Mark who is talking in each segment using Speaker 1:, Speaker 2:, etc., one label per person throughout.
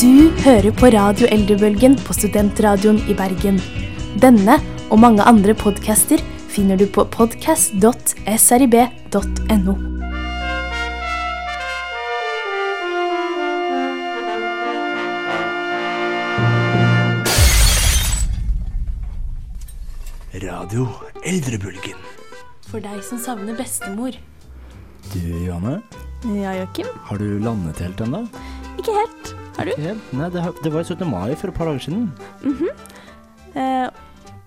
Speaker 1: Du hører på Radio Eldrebølgen på Studentradioen i Bergen. Denne og mange andre podcaster finner du på podcast.srib.no.
Speaker 2: Radio Eldrebølgen.
Speaker 1: For deg som savner bestemor.
Speaker 2: Du, Johanne,
Speaker 3: Ja, Joakim.
Speaker 2: har du landet helt ennå?
Speaker 3: Ikke helt. Har du?
Speaker 2: Ikke helt. Nei, det, har- det var jo 17. mai for et par dager siden.
Speaker 3: Eh,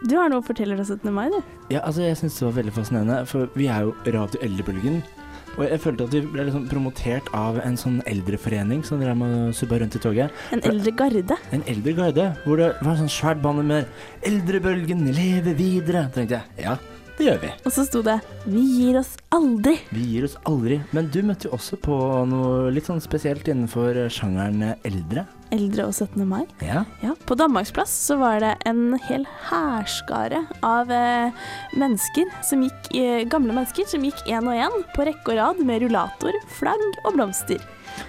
Speaker 3: du har noe å fortelle fra 17. mai, du.
Speaker 2: Ja, altså, jeg syns det var veldig fascinerende, for vi er jo Radio Eldrebølgen. Og jeg følte at vi ble liksom promotert av en sånn eldreforening som drev med å subbe rundt i toget.
Speaker 3: En eldre garde.
Speaker 2: En eldre guide hvor det var sånn svært banner med 'Eldrebølgen lever videre'. tenkte jeg ja, det gjør vi.
Speaker 3: Og så sto det 'Vi gir oss aldri'.
Speaker 2: Vi gir oss aldri. Men du møtte jo også på noe litt sånn spesielt innenfor sjangeren eldre.
Speaker 3: Eldre og 17. mai.
Speaker 2: Ja.
Speaker 3: Ja, På Danmarksplass så var det en hel hærskare av eh, mennesker som gikk, eh, gamle mennesker som gikk én og én på rekke og rad med rullator, flagg og blomster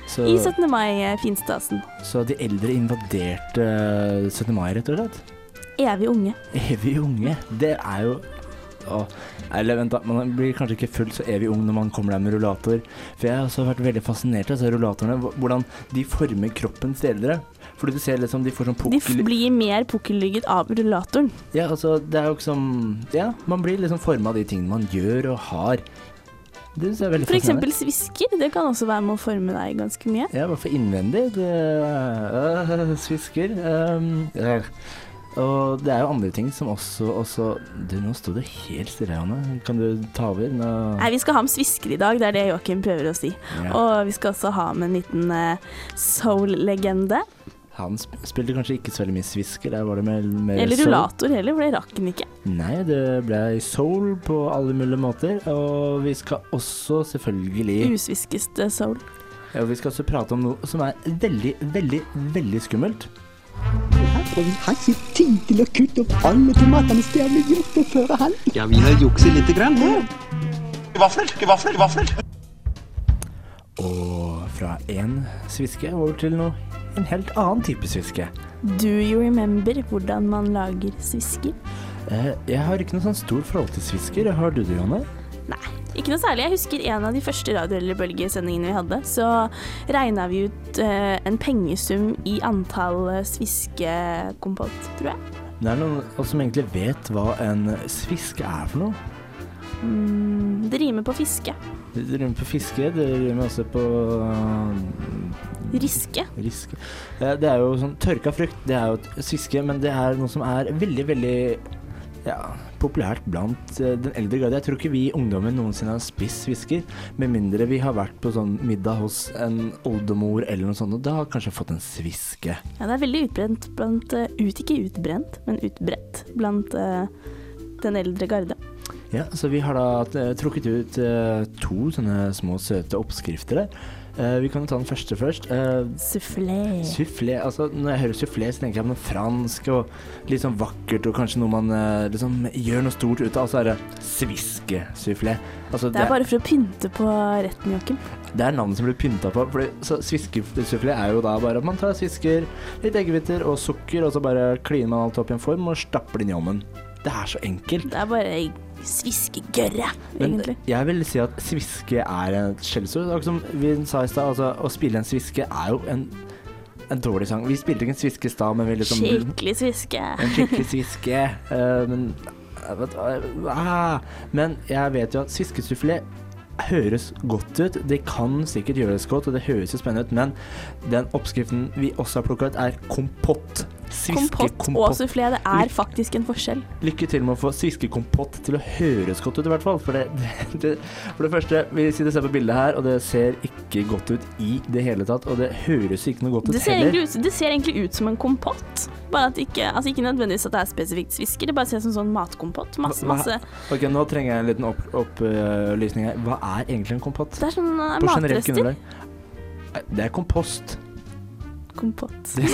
Speaker 2: Så,
Speaker 3: i eh, 17. mai-finstasen.
Speaker 2: så de eldre invaderte eh, 17. mai, rett og slett.
Speaker 3: Evig unge.
Speaker 2: Evig unge. Det er jo å, Eller vent, da. Man blir kanskje ikke fullt så evig ung når man kommer der med rullator. For jeg har også vært veldig fascinert av disse rullatorene. hv- Hvordan de former kroppen til eldre. Fordi du ser liksom de får sånn
Speaker 3: De f
Speaker 2: pukkel
Speaker 3: blir mer pukkellygget av rullatoren.
Speaker 2: Ja, altså, det er jo ikke som Ja, man blir liksom forma av de tingene man gjør og har. Det synes jeg er veldig
Speaker 3: For
Speaker 2: fascinerende.
Speaker 3: eksempel svisker. Det kan også være med å forme deg ganske mye.
Speaker 2: Ja, i hvert fall innvendig. Det øh, svisker. ehm, øh. Og det er jo andre ting som også, også Du, nå sto det helt stille, Hanne. Kan du ta over? Nå,
Speaker 3: Nei, vi skal ha med svisker i dag, det er det Joakim prøver å si.
Speaker 2: ja.
Speaker 3: Og vi skal også ha med en liten eh, soul-legende.
Speaker 2: Han sp spilte kanskje ikke så veldig mye svisker. Der var det mer, mer
Speaker 3: Eller
Speaker 2: Eh, soul.
Speaker 3: rullator heller, for det rakk han ikke.
Speaker 2: Nei, det ble soul på alle mulige måter. Og vi skal også selvfølgelig
Speaker 3: Usviskest eh, soul.
Speaker 2: ja, Vi skal også prate om noe som er veldig, veldig, veldig skummelt.
Speaker 4: Og vi har ikke tid til å kutte opp alle tomatene som har blitt gjort på førerhånd.
Speaker 5: Ja, vi har jukset lite grann her.
Speaker 6: Vafler, vafler, vafler.
Speaker 2: Og fra én sviske over til noe en helt annen type sviske.
Speaker 3: Do you remember hvordan man lager svisker?
Speaker 2: Eh, Jeg har ikke noe sånn stor forhold til svisker. Har du det, Johanne?
Speaker 3: Nei, ikke noe særlig. Jeg husker en av de første Radio eller Bølge-sendingene vi hadde. Så regna vi ut eh, en pengesum i antall eh, sviskekompott, tror jeg.
Speaker 2: Det er noen av oss som egentlig vet hva en svisk er for noe.
Speaker 3: Mm, det rimer på fiske.
Speaker 2: Det rimer på fiske, det rimer også på eh,
Speaker 3: Riske.
Speaker 2: riske. Eh, Det er jo sånn tørka frukt, det er jo et sviske, men det er noe som er veldig, veldig ja, populært blant eh, den eldre garde. Jeg tror ikke vi ungdommer noensinne har spist svisker, med mindre vi har vært på sånn middag hos en oldemor eller noe sånt, og da har kanskje fått en sviske.
Speaker 3: Ja, det er veldig utbrent blant eh, ut, Ikke utbrent, men utbredt blant eh, den eldre garde.
Speaker 2: Ja, så vi har da eh, trukket ut eh, to sånne små søte oppskrifter der. Eh, vi kan jo ta den første først. Eh,
Speaker 3: Sufflé.
Speaker 2: Soufflé altså Når jeg hører soufflé, så tenker jeg på noe fransk og litt sånn vakkert og kanskje noe man eh, liksom gjør noe stort ut av. Og så er det sviskesufflé. Altså,
Speaker 3: Det er bare for å pynte på retten, Joakim.
Speaker 2: det er navnet som blir pynta på. Fordi, så Sviskesufflé er jo da bare at man tar svisker, litt eggehviter og sukker, og så bare kliner man alt opp i en form og stapper det inn i ovnen. Det er så enkelt.
Speaker 3: Det er bare sviskegørre,
Speaker 2: Men eh,
Speaker 3: egentlig.
Speaker 2: jeg vil si at sviske er et skjellsord. Det er Akkurat som vi sa i stad, altså, å spille en sviske er jo en, en dårlig sang. Vi spilte ikke en sviske i stad, men vi liksom
Speaker 3: Skikkelig sviske.
Speaker 2: En skikkelig sviske. eh, men eh, vet du hva, ah, Men jeg vet jo at sviskesufflé høres godt ut. Det kan sikkert gjøres godt, og det høres jo spennende ut, men den oppskriften vi også har plukka ut, er kompott.
Speaker 3: Kompott og sufflé, det er faktisk en forskjell.
Speaker 2: Lykke til med å få sviskekompott til å høres godt ut, i hvert fall. For det, det, det, for det første, vi sitter og ser på bildet her, og det ser ikke godt ut i det hele tatt. Og det høres ikke noe godt ut
Speaker 3: Det ser,
Speaker 2: heller.
Speaker 3: egentlig ut, det ser egentlig ut som en kompott. Bare at ikke, altså ikke nødvendigvis at det er spesifikt svisker, det bare ser ut som sånn matkompott. Masse,
Speaker 2: Hva-
Speaker 3: masse.
Speaker 2: Ok, Nå trenger jeg en liten opplysning her. Hva er egentlig en kompott?
Speaker 3: Det er sånn eh,
Speaker 2: På generelt
Speaker 3: matrester.
Speaker 2: grunnlag. Nei, Det er kompost.
Speaker 3: Kompott.
Speaker 2: Det,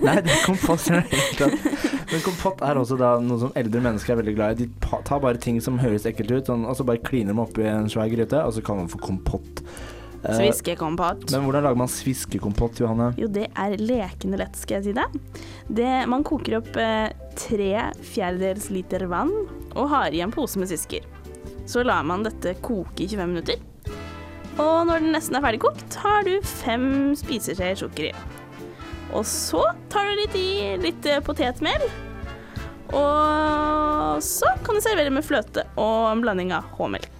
Speaker 2: nei, det er kompost i det hele tatt. Men kompott er også da noe som eldre mennesker er veldig glad i. De pa- tar bare ting som høres ekkelt ut, sånn, og så bare kliner de oppi en svær gryte, og så kaller man for kompott. Eh,
Speaker 3: Sviskekompott.
Speaker 2: Men hvordan lager man sviskekompott, Johanne?
Speaker 3: Jo, det er lekende lett, skal jeg si deg. Det, man koker opp eh, tre fjerdedels liter vann og har i en pose med svisker. Så lar man dette koke i 25 minutter. Og når den nesten er ferdigkokt, har du fem spiseskjeer sukker i. Og så tar du litt i litt eh, potetmel. Og så kan du servere med fløte og en blanding av H-melk.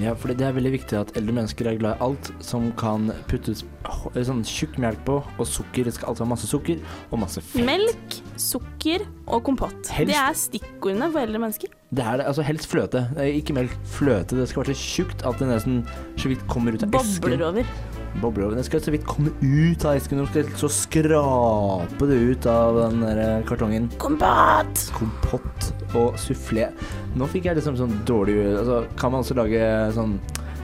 Speaker 2: Ja, fordi det er veldig viktig at eldre mennesker er glad i alt som kan puttes h- sånn tjukk melk på, og sukker. Det skal alltid ha masse sukker og masse fett.
Speaker 3: Melk, sukker og kompott.
Speaker 2: Helst-
Speaker 3: Det er stikkordene for eldre mennesker.
Speaker 2: Det er det, altså helst fløte. Eh, Ikke melk, fløte. Det skal være så tjukt at det nesten så vidt kommer ut av esken.
Speaker 3: Bobler over.
Speaker 2: Bobler over. Det skal så vidt komme ut av esken. Du skal så skrape det ut av den der eh, kartongen.
Speaker 3: Kompott!
Speaker 2: Kompott og soufflé. Nå fikk jeg liksom sånn dårlig altså, Kan man også lage sånn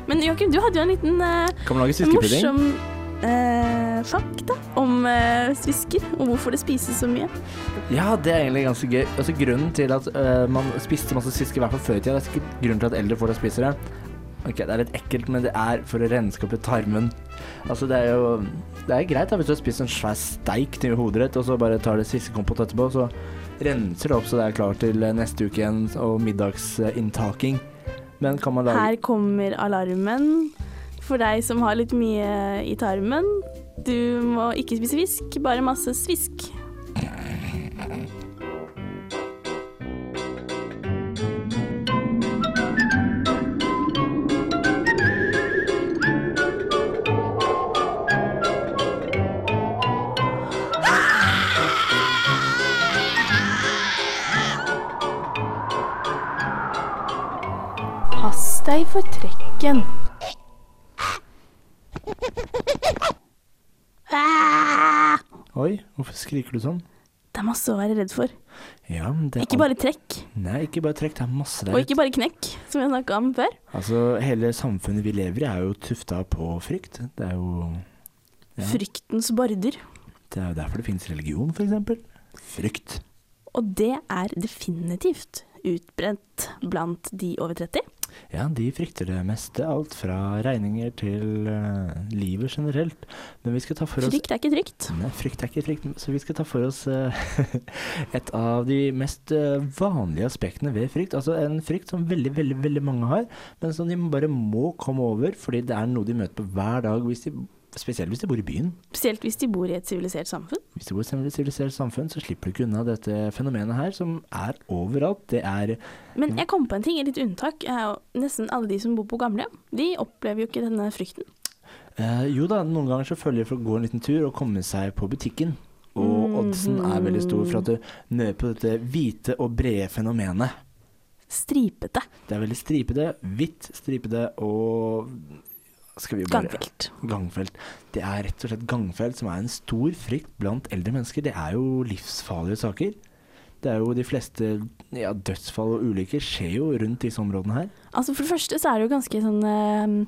Speaker 3: Men Joakim, du hadde jo en liten eh,
Speaker 2: Kan man lage sviskepudding?
Speaker 3: morsom eh, fakta om eh, svisker, og hvorfor det spises så mye.
Speaker 2: Ja, det er egentlig ganske gøy. Altså, grunnen til at øh, man spiste masse svisker, i hvert fall før i tida, det er sikkert grunnen til at eldre folk spiser det. Ok, det er litt ekkelt, men det er for å renske opp i tarmen. Altså, det er jo Det er greit da, hvis du har spist en svær steik til hovedrett, og så bare tar det sviskekompott etterpå, så renser det opp så det er klart til eh, neste uke igjen og middagsinntaking. Men kan man lage
Speaker 3: Her kommer alarmen for deg som har litt mye i tarmen. Du må ikke spise fisk, bare masse svisk.
Speaker 1: Pass deg for trekken.
Speaker 2: Oi, hvorfor skriker du sånn?
Speaker 3: Det er masse å være redd for.
Speaker 2: Ja, men det er
Speaker 3: Ikke
Speaker 2: alt-
Speaker 3: bare trekk,
Speaker 2: Nei, ikke bare trekk. Det er masse der
Speaker 3: og
Speaker 2: ute.
Speaker 3: ikke bare knekk, som vi snakka om før.
Speaker 2: Altså, hele samfunnet vi lever i er jo tufta på frykt. Det er jo, Ja.
Speaker 3: Fryktens border.
Speaker 2: det er jo derfor det finnes religion, for eksempel. Frykt.
Speaker 3: Og det er definitivt utbredt blant de over 30.
Speaker 2: Ja, de frykter det meste. Alt fra regninger til eh, livet generelt. Men vi skal ta for oss
Speaker 3: Frykt er ikke trygt.
Speaker 2: Nei, frykt er ikke frykt, så vi skal ta for oss eh, et av de mest eh, vanlige aspektene ved frykt. Altså en frykt som veldig, veldig veldig mange har, men som de bare må komme over, fordi det er noe de møter på hver dag, hvis de, spesielt hvis de bor i byen.
Speaker 3: Spesielt hvis de bor i et sivilisert samfunn.
Speaker 2: Hvis du bor i et sivilisert samfunn, så slipper du ikke unna dette fenomenet her, som er overalt. Det er
Speaker 3: Men
Speaker 2: Mm.
Speaker 3: jeg kom på en ting, et litt unntak. er jo Nesten alle de som bor på gamlehjem, de opplever jo ikke denne frykten.
Speaker 2: eh, Jo da, noen ganger så følger det for å gå en liten tur og komme seg på butikken. Og oddsen er veldig stor for at du nøyer på dette hvite og brede fenomenet.
Speaker 3: Stripete
Speaker 2: Det er veldig stripete, hvitt stripete og skal vi bare,
Speaker 3: gangfelt.
Speaker 2: Gangfelt. Det er rett og slett gangfelt som er en stor frykt blant eldre mennesker. Det er jo livsfarlige saker. Det er jo de fleste ja, dødsfall og ulykker skjer jo rundt disse områdene her.
Speaker 3: Altså For det første så er det jo ganske sånn eh,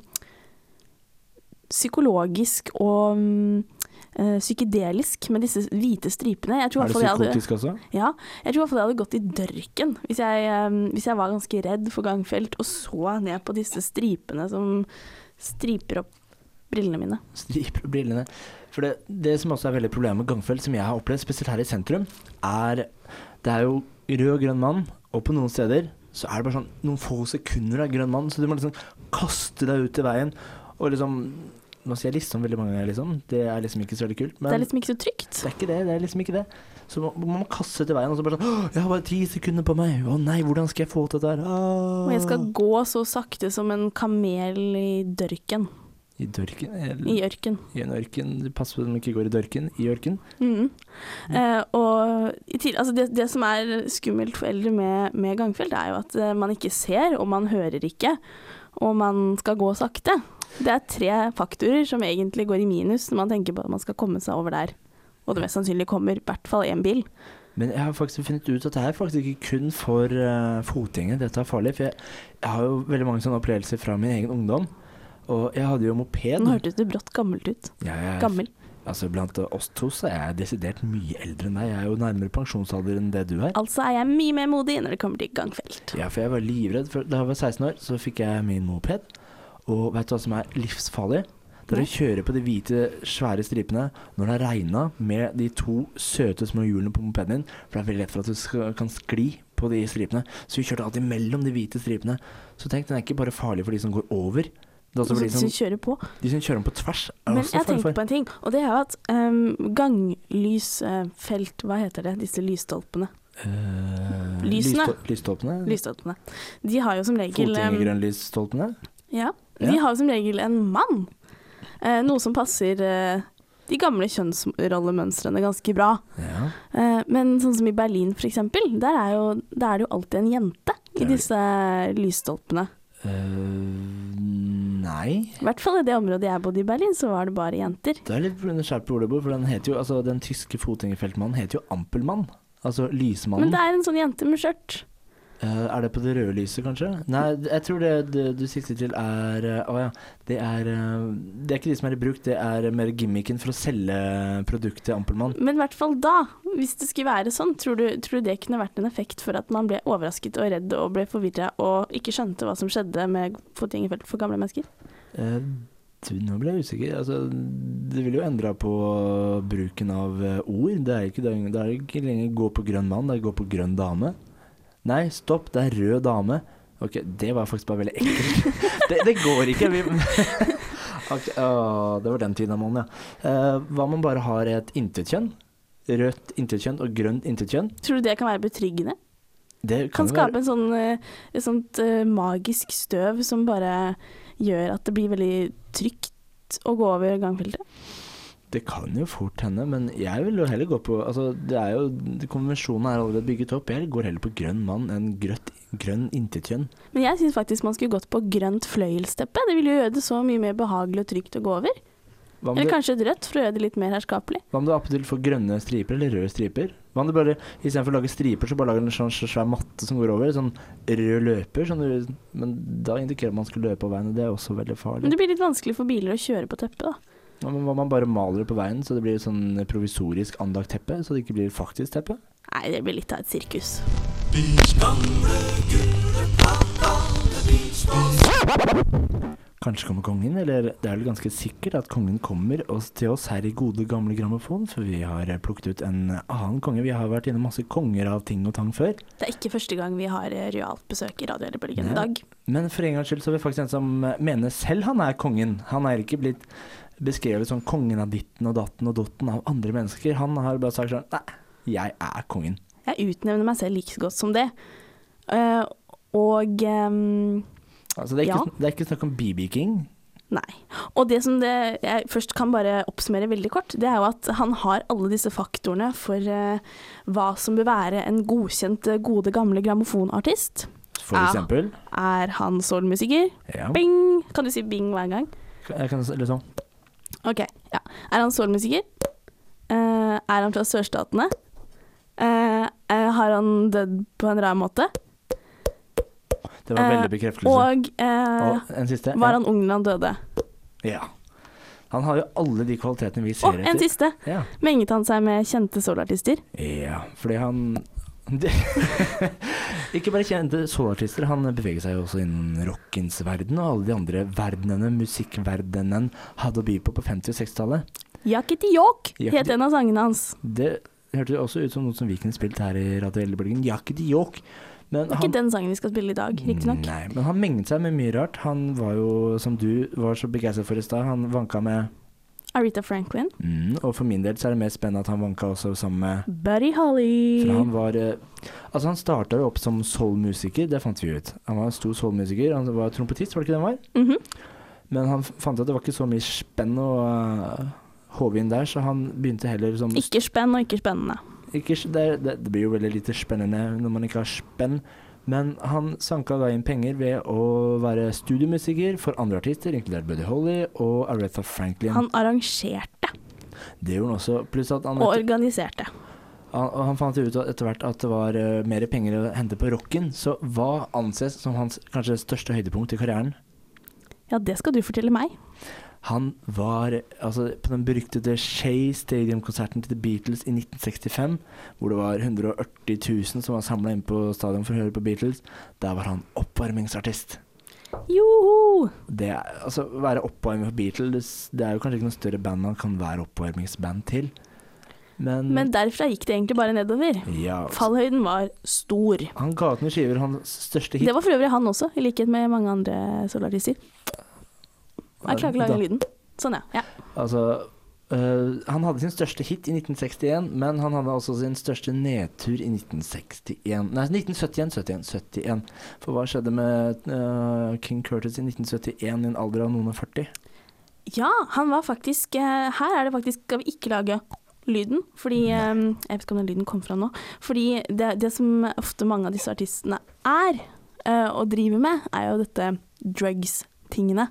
Speaker 3: psykologisk og mm, eh, psykedelisk med disse hvite stripene. Jeg tror i
Speaker 2: Er
Speaker 3: hvert
Speaker 2: det
Speaker 3: fall jeg hadde-
Speaker 2: psykotisk også?
Speaker 3: Ja, jeg tror i hvert fall jeg hadde gått i dørken hvis jeg, eh, hvis jeg var ganske redd for gangfelt og så ned på disse stripene som striper opp brillene mine.
Speaker 2: Striper og brillene. For det, det som også er veldig problemet med gangfelt, som jeg har opplevd, spesielt her i sentrum, er Det er jo rød og grønn mann, og på noen steder så er det bare sånn noen få sekunder av grønn mann, så du må liksom kaste deg ut i veien og liksom Nå sier jeg liksom veldig mange ganger, liksom. Det er liksom ikke så veldig kult. Men
Speaker 3: Det er liksom ikke så trygt.
Speaker 2: Det er ikke det, det er liksom ikke det. Så må må man kaste til veien og så bare sånn «Åh, Jeg har bare ti sekunder på meg. Å nei, hvordan skal jeg få til dette her? Ah!»
Speaker 3: Og jeg skal gå så sakte som en kamel i dørken.
Speaker 2: I dørken?
Speaker 3: I
Speaker 2: eller-
Speaker 3: ørken.
Speaker 2: I en ørken? Pass på at de ikke går i dørken. I ørken?
Speaker 3: Mhm. Eh, og i til, altså det, det som er skummelt for eldre med, med gangfelt, er jo at eh, man ikke ser, og man hører ikke, og man skal gå sakte. Det er tre faktorer som egentlig går i minus når man tenker på at man skal komme seg over der. Og det mest sannsynlig kommer i hvert fall én bil.
Speaker 2: Men jeg har faktisk funnet ut at det er faktisk ikke kun for uh, fotgjengere dette er farlig. For jeg, jeg har jo veldig mange sånne opplevelser fra min egen ungdom. Og jeg hadde jo moped.
Speaker 3: Nå hørtes du brått gammelt ut.
Speaker 2: Jeg er-
Speaker 3: Gammel.
Speaker 2: Altså Blant oss to så er jeg desidert mye eldre enn deg. Jeg er jo nærmere pensjonsalder enn det du er.
Speaker 3: Altså er jeg mye mer modig når det kommer til gangfelt.
Speaker 2: Ja, for jeg var livredd. For da jeg var 16 år, så fikk jeg min moped. Og vet du hva som er livsfarlig? der du kjører på de hvite, svære stripene når det har regna, med de to søte små hjulene på mopeden din. For det er veldig lett for at du skal, kan skli på de stripene. Så vi kjørte alltid mellom de hvite stripene. Så tenk, den er ikke bare farlig for de som går over. Det sånn er også for de som,
Speaker 3: Som kjører på.
Speaker 2: de som kjører om på tvers. Er
Speaker 3: Altså, Men
Speaker 2: også
Speaker 3: jeg
Speaker 2: farlig
Speaker 3: tenkte
Speaker 2: for.
Speaker 3: på en ting, og det er jo at um, ganglysfelt, hva heter det, disse lysstolpene,
Speaker 2: Eh,
Speaker 3: Lysene.
Speaker 2: lysstol- Lysstolpene?
Speaker 3: lysstolpene de har jo som regel um,
Speaker 2: Fotgjengergrønnlysstolpene?
Speaker 3: ja,
Speaker 2: Ja.
Speaker 3: De har jo som regel en mann, eh, noe som passer eh, de gamle kjønnsrollemønstrene ganske bra.
Speaker 2: Ja.
Speaker 3: Eh, men sånn som i Berlin for eksempel, der er, jo, der er det jo alltid en jente
Speaker 2: Det er
Speaker 3: i
Speaker 2: det.
Speaker 3: disse lysstolpene.
Speaker 2: Eh, nei.
Speaker 3: I hvert fall i det området jeg bodde i Berlin, så var det bare jenter.
Speaker 2: Det er litt nysgjerrig på hvor du bor, for den, heter jo, altså, den tyske fotgjengerfeltmannen heter jo Ampelmann. Altså
Speaker 3: Men
Speaker 2: lysmannen.
Speaker 3: det er en sånn jente med skjørt.
Speaker 2: Eh, er det på det røde lyset, kanskje? Nei, d- jeg tror det, det du sikter til er eh, Å ja. Det er, eh, det er ikke de som er i bruk, det er mer gimmicken for å selge produktet Ampelmann.
Speaker 3: Men i hvert fall da, hvis det skulle være sånn, tror du, tror du det kunne vært en effekt for at man ble overrasket og redd og ble forvirra og ikke skjønte hva som skjedde med fotgjengerfelt for gamle mennesker?
Speaker 2: Eh, du, nå ble jeg usikker. Altså, det vil jo endre på bruken av eh, ord. Det er ikke, det er- det er ikke lenger 'gå på grønn mann', det er 'gå på grønn dame'. Nei, stopp, det er 'rød dame'. Ok, det var faktisk bare veldig ekkelt. det, det går ikke. Vi... Ok, å, det var den tiden av måneden, ja. Eh, hva om man bare har et intetkjønn? Rødt intetkjønn og grønt intetkjønn?
Speaker 3: Tror du det kan være betryggende?
Speaker 2: Det
Speaker 3: Kan
Speaker 2: jo være-
Speaker 3: skape en sånn, eh, et sånt eh, magisk støv som bare gjør at det blir veldig trygt å gå over gangfeltet?
Speaker 2: Det kan jo fort hende, men jeg vil jo heller gå på altså, det er jo, Konvensjonen er allerede bygget opp. Jeg går heller på grønn mann enn grøtt, grønn intetkjønn.
Speaker 3: Men jeg syns faktisk man skulle gått på grønt fløyelsteppe. Det ville jo gjøre det så mye mer behagelig og trygt å gå over.
Speaker 2: Hva om, du,
Speaker 3: Eller kanskje et rødt for å gjøre det litt mer herskapelig.
Speaker 2: hva om du appetitt får grønne striper eller røde striper? Hva om du bare, Istedenfor å lage striper, så bare lager du en sånn så svær matte som går over. Sånn rød løper. Sånn, du- men da indikerer man skal løpe på veien, og det er også veldig
Speaker 3: Men
Speaker 2: farlig.
Speaker 3: det blir litt vanskelig for biler å kjøre på teppet, da.
Speaker 2: Hva om man bare maler det på veien, så det blir et sånn provisorisk anlagt teppe? Så det ikke blir faktisk teppe?
Speaker 3: Nei, det blir litt av et sirkus.
Speaker 2: Kanskje kommer kongen, eller det er vel ganske sikkert at kongen kommer oss til oss her i gode gamle grammofon, for vi har eh, plukket ut en annen konge. Vi har vært gjennom masse konger av ting og tang før,
Speaker 3: Det er ikke første gang vi har eh, rojalt besøk i Radio
Speaker 2: Nei.
Speaker 3: Ellerbølgen i dag.
Speaker 2: men for en gangs skyld så er vi faktisk en som eh, mener selv han er kongen. Han er ikke blitt beskrevet som kongen av ditten og datten og dotten av andre mennesker. Han har bare sagt sånn Nei, jeg er kongen.
Speaker 3: Jeg utnevner meg selv like så godt som det. Eh, og ehm,
Speaker 2: Altså, det, er ikke,
Speaker 3: Ja.
Speaker 2: sn- det er ikke snakk om BB King.
Speaker 3: Nei. Og det som det, jeg først kan bare oppsummere veldig kort, det er jo at han har alle disse faktorene for eh, hva som bør være en godkjent, eh, gode, gamle grammofonartist.
Speaker 2: For
Speaker 3: Ja.
Speaker 2: eksempel.
Speaker 3: Er han solmusiker?
Speaker 2: Ja.
Speaker 3: Bing! Kan du si bing hver gang?
Speaker 2: Jeg kan s- liksom
Speaker 3: Ok, ja. Er han solmusiker? Eh, er han fra sørstatene? Eh, eh, har han dødd på en rar måte?
Speaker 2: Det var
Speaker 3: Eh,
Speaker 2: veldig bekreftelse.
Speaker 3: Og eh,
Speaker 2: Og en siste.
Speaker 3: var han ung da han døde?
Speaker 2: Ja. Han har jo alle de kvalitetene vi ser
Speaker 3: Og en
Speaker 2: etter.
Speaker 3: siste.
Speaker 2: Ja.
Speaker 3: Menget han seg med kjente soloartister?
Speaker 2: ja, fordi han Det- Ikke bare kjente soloartister, han beveger seg jo også innen rockens verden og alle de andre verdenene musikkverdenen hadde å by på på 50- og 60-tallet.
Speaker 3: Yakety Yok het
Speaker 2: Yakety-
Speaker 3: en av sangene hans.
Speaker 2: Det hørtes også ut som noe som Viken spilte her i Radio Eldebølgen. Yakety Yok. Men
Speaker 3: Det er ikke den sangen vi skal spille i dag, riktignok.
Speaker 2: Nei, men han menget seg med mye rart. Han var jo, som du var så begeistret for i stad, han vanka med
Speaker 3: Aretha Franklin.
Speaker 2: mm, Og for min del så er det mer spennende at han vanka også sammen med
Speaker 3: Buddy Holly.
Speaker 2: For han var eh, Altså, han starta jo opp som soul-musiker, det fant vi ut. Han var en stor soul-musiker. Han var trompetist, var det ikke det han var?
Speaker 3: Mhm.
Speaker 2: Men han f- fant ut at det var ikke så mye spenn og eh, håve inn der, så han begynte heller som
Speaker 3: Ikke spenn og ikke spennende.
Speaker 2: ikke, s- det, er- det, det blir jo veldig lite spennende når man ikke har spenn. Men han sanka da inn penger ved å være studiomusiker for andre artister, inkludert Buddy Holly og Aretha Franklin.
Speaker 3: Han arrangerte
Speaker 2: det gjorde han også. Pluss at han
Speaker 3: og organiserte.
Speaker 2: Han, og han fant ut at- etter hvert at det var eh, mer penger å hente på rocken, så hva anses som hans kanskje største høydepunkt i karrieren?
Speaker 3: Ja, det skal du fortelle meg.
Speaker 2: Han var eh, altså, på den beryktede Shea Stadium-konserten til The Beatles i 1965, hvor det var 180 000 som var samla inn på stadion for å høre på Beatles. Der var han oppvarmingsartist.
Speaker 3: Joho!
Speaker 2: Det er, altså, være oppvarming for Beatles Det er jo kanskje ikke noe større band man kan være oppvarmingsband til. Men,
Speaker 3: Men derfra gikk det egentlig bare nedover.
Speaker 2: ja,
Speaker 3: Fallhøyden var stor.
Speaker 2: han ga ut noen skiver, hans største hit
Speaker 3: Det var for øvrig han også, i likhet med mange andre soloartister. Jeg klarer ikke å lage
Speaker 2: Da-
Speaker 3: den lyden. Sånn, ja. ja.
Speaker 2: Altså, øh, han hadde sin største hit i 1961, men han hadde også sin største nedtur i 1961. Nei, 1971, 71, 71. For hva skjedde med øh, King Curtis i 1971 i en alder av noen og 40?
Speaker 3: Ja, han var faktisk eh, Her er det faktisk Skal vi ikke lage lyden? Fordi eh, Jeg vet ikke om den lyden kom fra nå. Fordi det, det som ofte mange av disse artistene er, eh, og driver med, er jo dette drugs-tingene.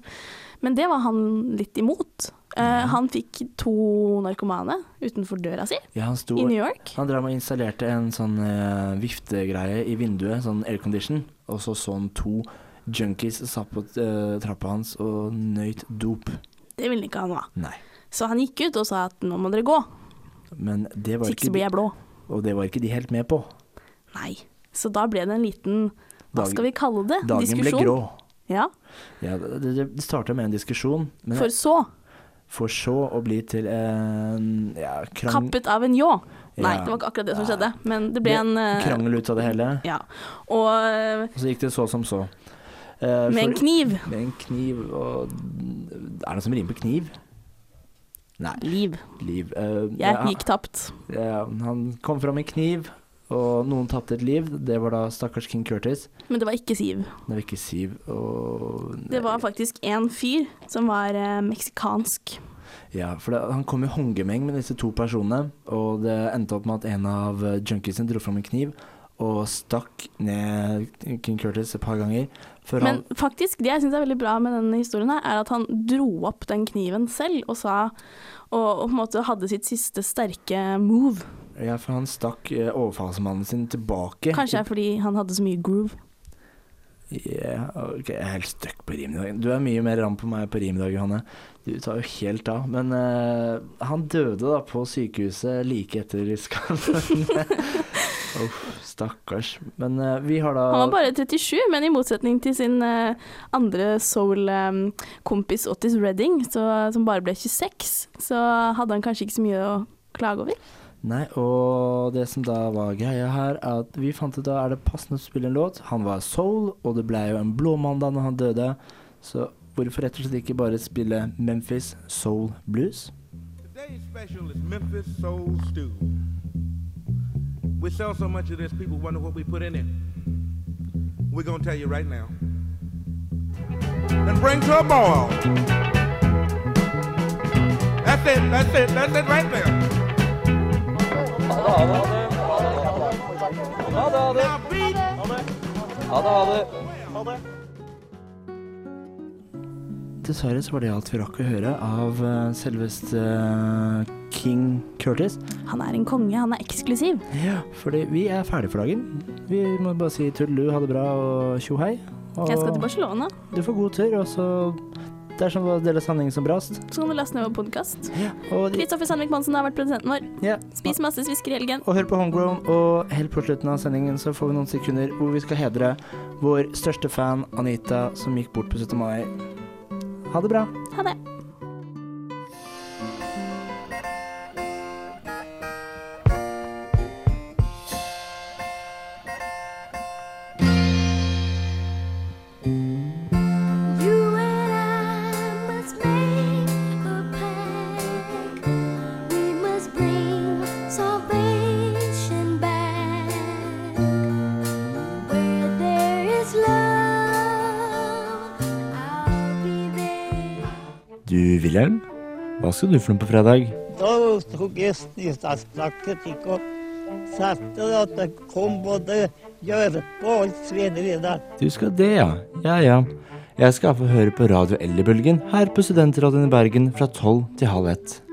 Speaker 3: Men det var han litt imot. Eh, Han fikk to narkomane utenfor døra si
Speaker 2: Ja, han sto
Speaker 3: i New York.
Speaker 2: Han drev og installerte en sånn øh, viftegreie i vinduet, sånn aircondition, og så så han to junkies satt på øh, trappa hans og nøyt dop.
Speaker 3: Det ville ikke han ha.
Speaker 2: Nei.
Speaker 3: Så han gikk ut og sa at nå må dere gå,
Speaker 2: Men det var
Speaker 3: hvis
Speaker 2: ikke
Speaker 3: ikke så blir
Speaker 2: de,
Speaker 3: jeg blå.
Speaker 2: og det var ikke de helt med på.
Speaker 3: Nei. Så da ble det en liten Hva
Speaker 2: Dagen-
Speaker 3: skal vi kalle det?
Speaker 2: Dagen ble grå.
Speaker 3: Ja,
Speaker 2: Ja, det, det- det starta med en diskusjon, men
Speaker 3: For
Speaker 2: for,
Speaker 3: så,
Speaker 2: så å bli til en ja, krang,
Speaker 3: kappet av en ljå. Nei,
Speaker 2: Ja.
Speaker 3: det var ikke akkurat det som
Speaker 2: Ja.
Speaker 3: skjedde, men det ble
Speaker 2: Det-
Speaker 3: en eh,
Speaker 2: krangel ut av det hele.
Speaker 3: Ja. Og eh,
Speaker 2: Og så gikk det så som så. Eh,
Speaker 3: med en
Speaker 2: for-
Speaker 3: kniv.
Speaker 2: Med en kniv og Er det noe som rimer på kniv? Nei.
Speaker 3: Liv.
Speaker 2: Liv. Eh,
Speaker 3: Jeg
Speaker 2: ja,
Speaker 3: gikk tapt.
Speaker 2: ja, han kom fram med kniv, og noen tapte et liv. Det var da stakkars King Curtis.
Speaker 3: Men det var ikke Siv.
Speaker 2: Det var ikke Siv. Og
Speaker 3: Det var faktisk en fyr som var eh, meksikansk.
Speaker 2: Ja, for det, han kom i håndgemeng med disse to personene, og det endte opp med at en av eh, junkiesene dro fram en kniv og stakk ned King Curtis et par ganger. Før
Speaker 3: Men faktisk, det jeg syns er veldig bra med denne historien, her, er at han dro opp den kniven selv og sa Og, og på en måte hadde sitt siste sterke move.
Speaker 2: han, ja, for han stakk eh, overfallsmannen sin tilbake.
Speaker 3: Kanskje det er fordi han hadde så mye groove.
Speaker 2: Ja, ok, jeg er helt stuck på rim i dag. Du er mye mer ram på meg på rim i dag, Johanne. Du tar jo helt av. Men eh, han døde da på sykehuset like etter skaden. Uff, stakkars. Men eh, vi har da
Speaker 3: Han var bare 37, men i motsetning til sin eh, andre soul-kompis Otis Redding, så, som bare ble 26, så hadde han kanskje ikke så mye å klage over.
Speaker 2: Nei, og det som da var greia her, er at vi fant ut da er det passende å spille en låt. Han var soul, og det ble jo en blå mandag når han døde. Så hvorfor rett og slett ikke bare spille Memphis Soul Blues?
Speaker 7: Today's special is Memphis Soul Stew. We sell so much of this, people wonder what we put in it. We're gonna tell you right now. And bring to a boil. That's it, that's it, that's it right there. Now beat
Speaker 2: Dessverre så var det alt vi rakk å høre av eh, selveste eh, King Curtis.
Speaker 3: Han er en konge, han er eksklusiv.
Speaker 2: Ja, fordi vi er ferdig for dagen. Vi må bare si tudelu, ha det bra og tjo hei. Og
Speaker 3: Jeg skal til Barcelona,
Speaker 2: Du får god tur, og så Dersom det var del av sanningen som brast.
Speaker 3: så kan du laste ned vår podkast.
Speaker 2: Og,
Speaker 3: Kristoffer Sandvik Monsen har vært produsenten vår.
Speaker 2: ja.
Speaker 3: Spis masse svisker i helgen.
Speaker 2: og hør på Homegrown, og helt på slutten av sendingen så får vi noen sekunder hvor vi skal hedre vår største fan, Anita, som gikk bort på 17. mai. Ha det bra.
Speaker 3: Ha det.
Speaker 8: You and I must make a pact. We must bring salvation back. Where there is love, I'll be there.
Speaker 2: Du, Wilhelm. Hva skal du for noe på fredag?
Speaker 9: Da tok jeg snissaksblaket ikke og satte det at det kom både gjørpe og svineri der.
Speaker 2: Du skal det, ja. Ja, ja. Jeg skal få høre på Radio Elgebølgen her på Studentradioen i Bergen fra tolv til halv ett.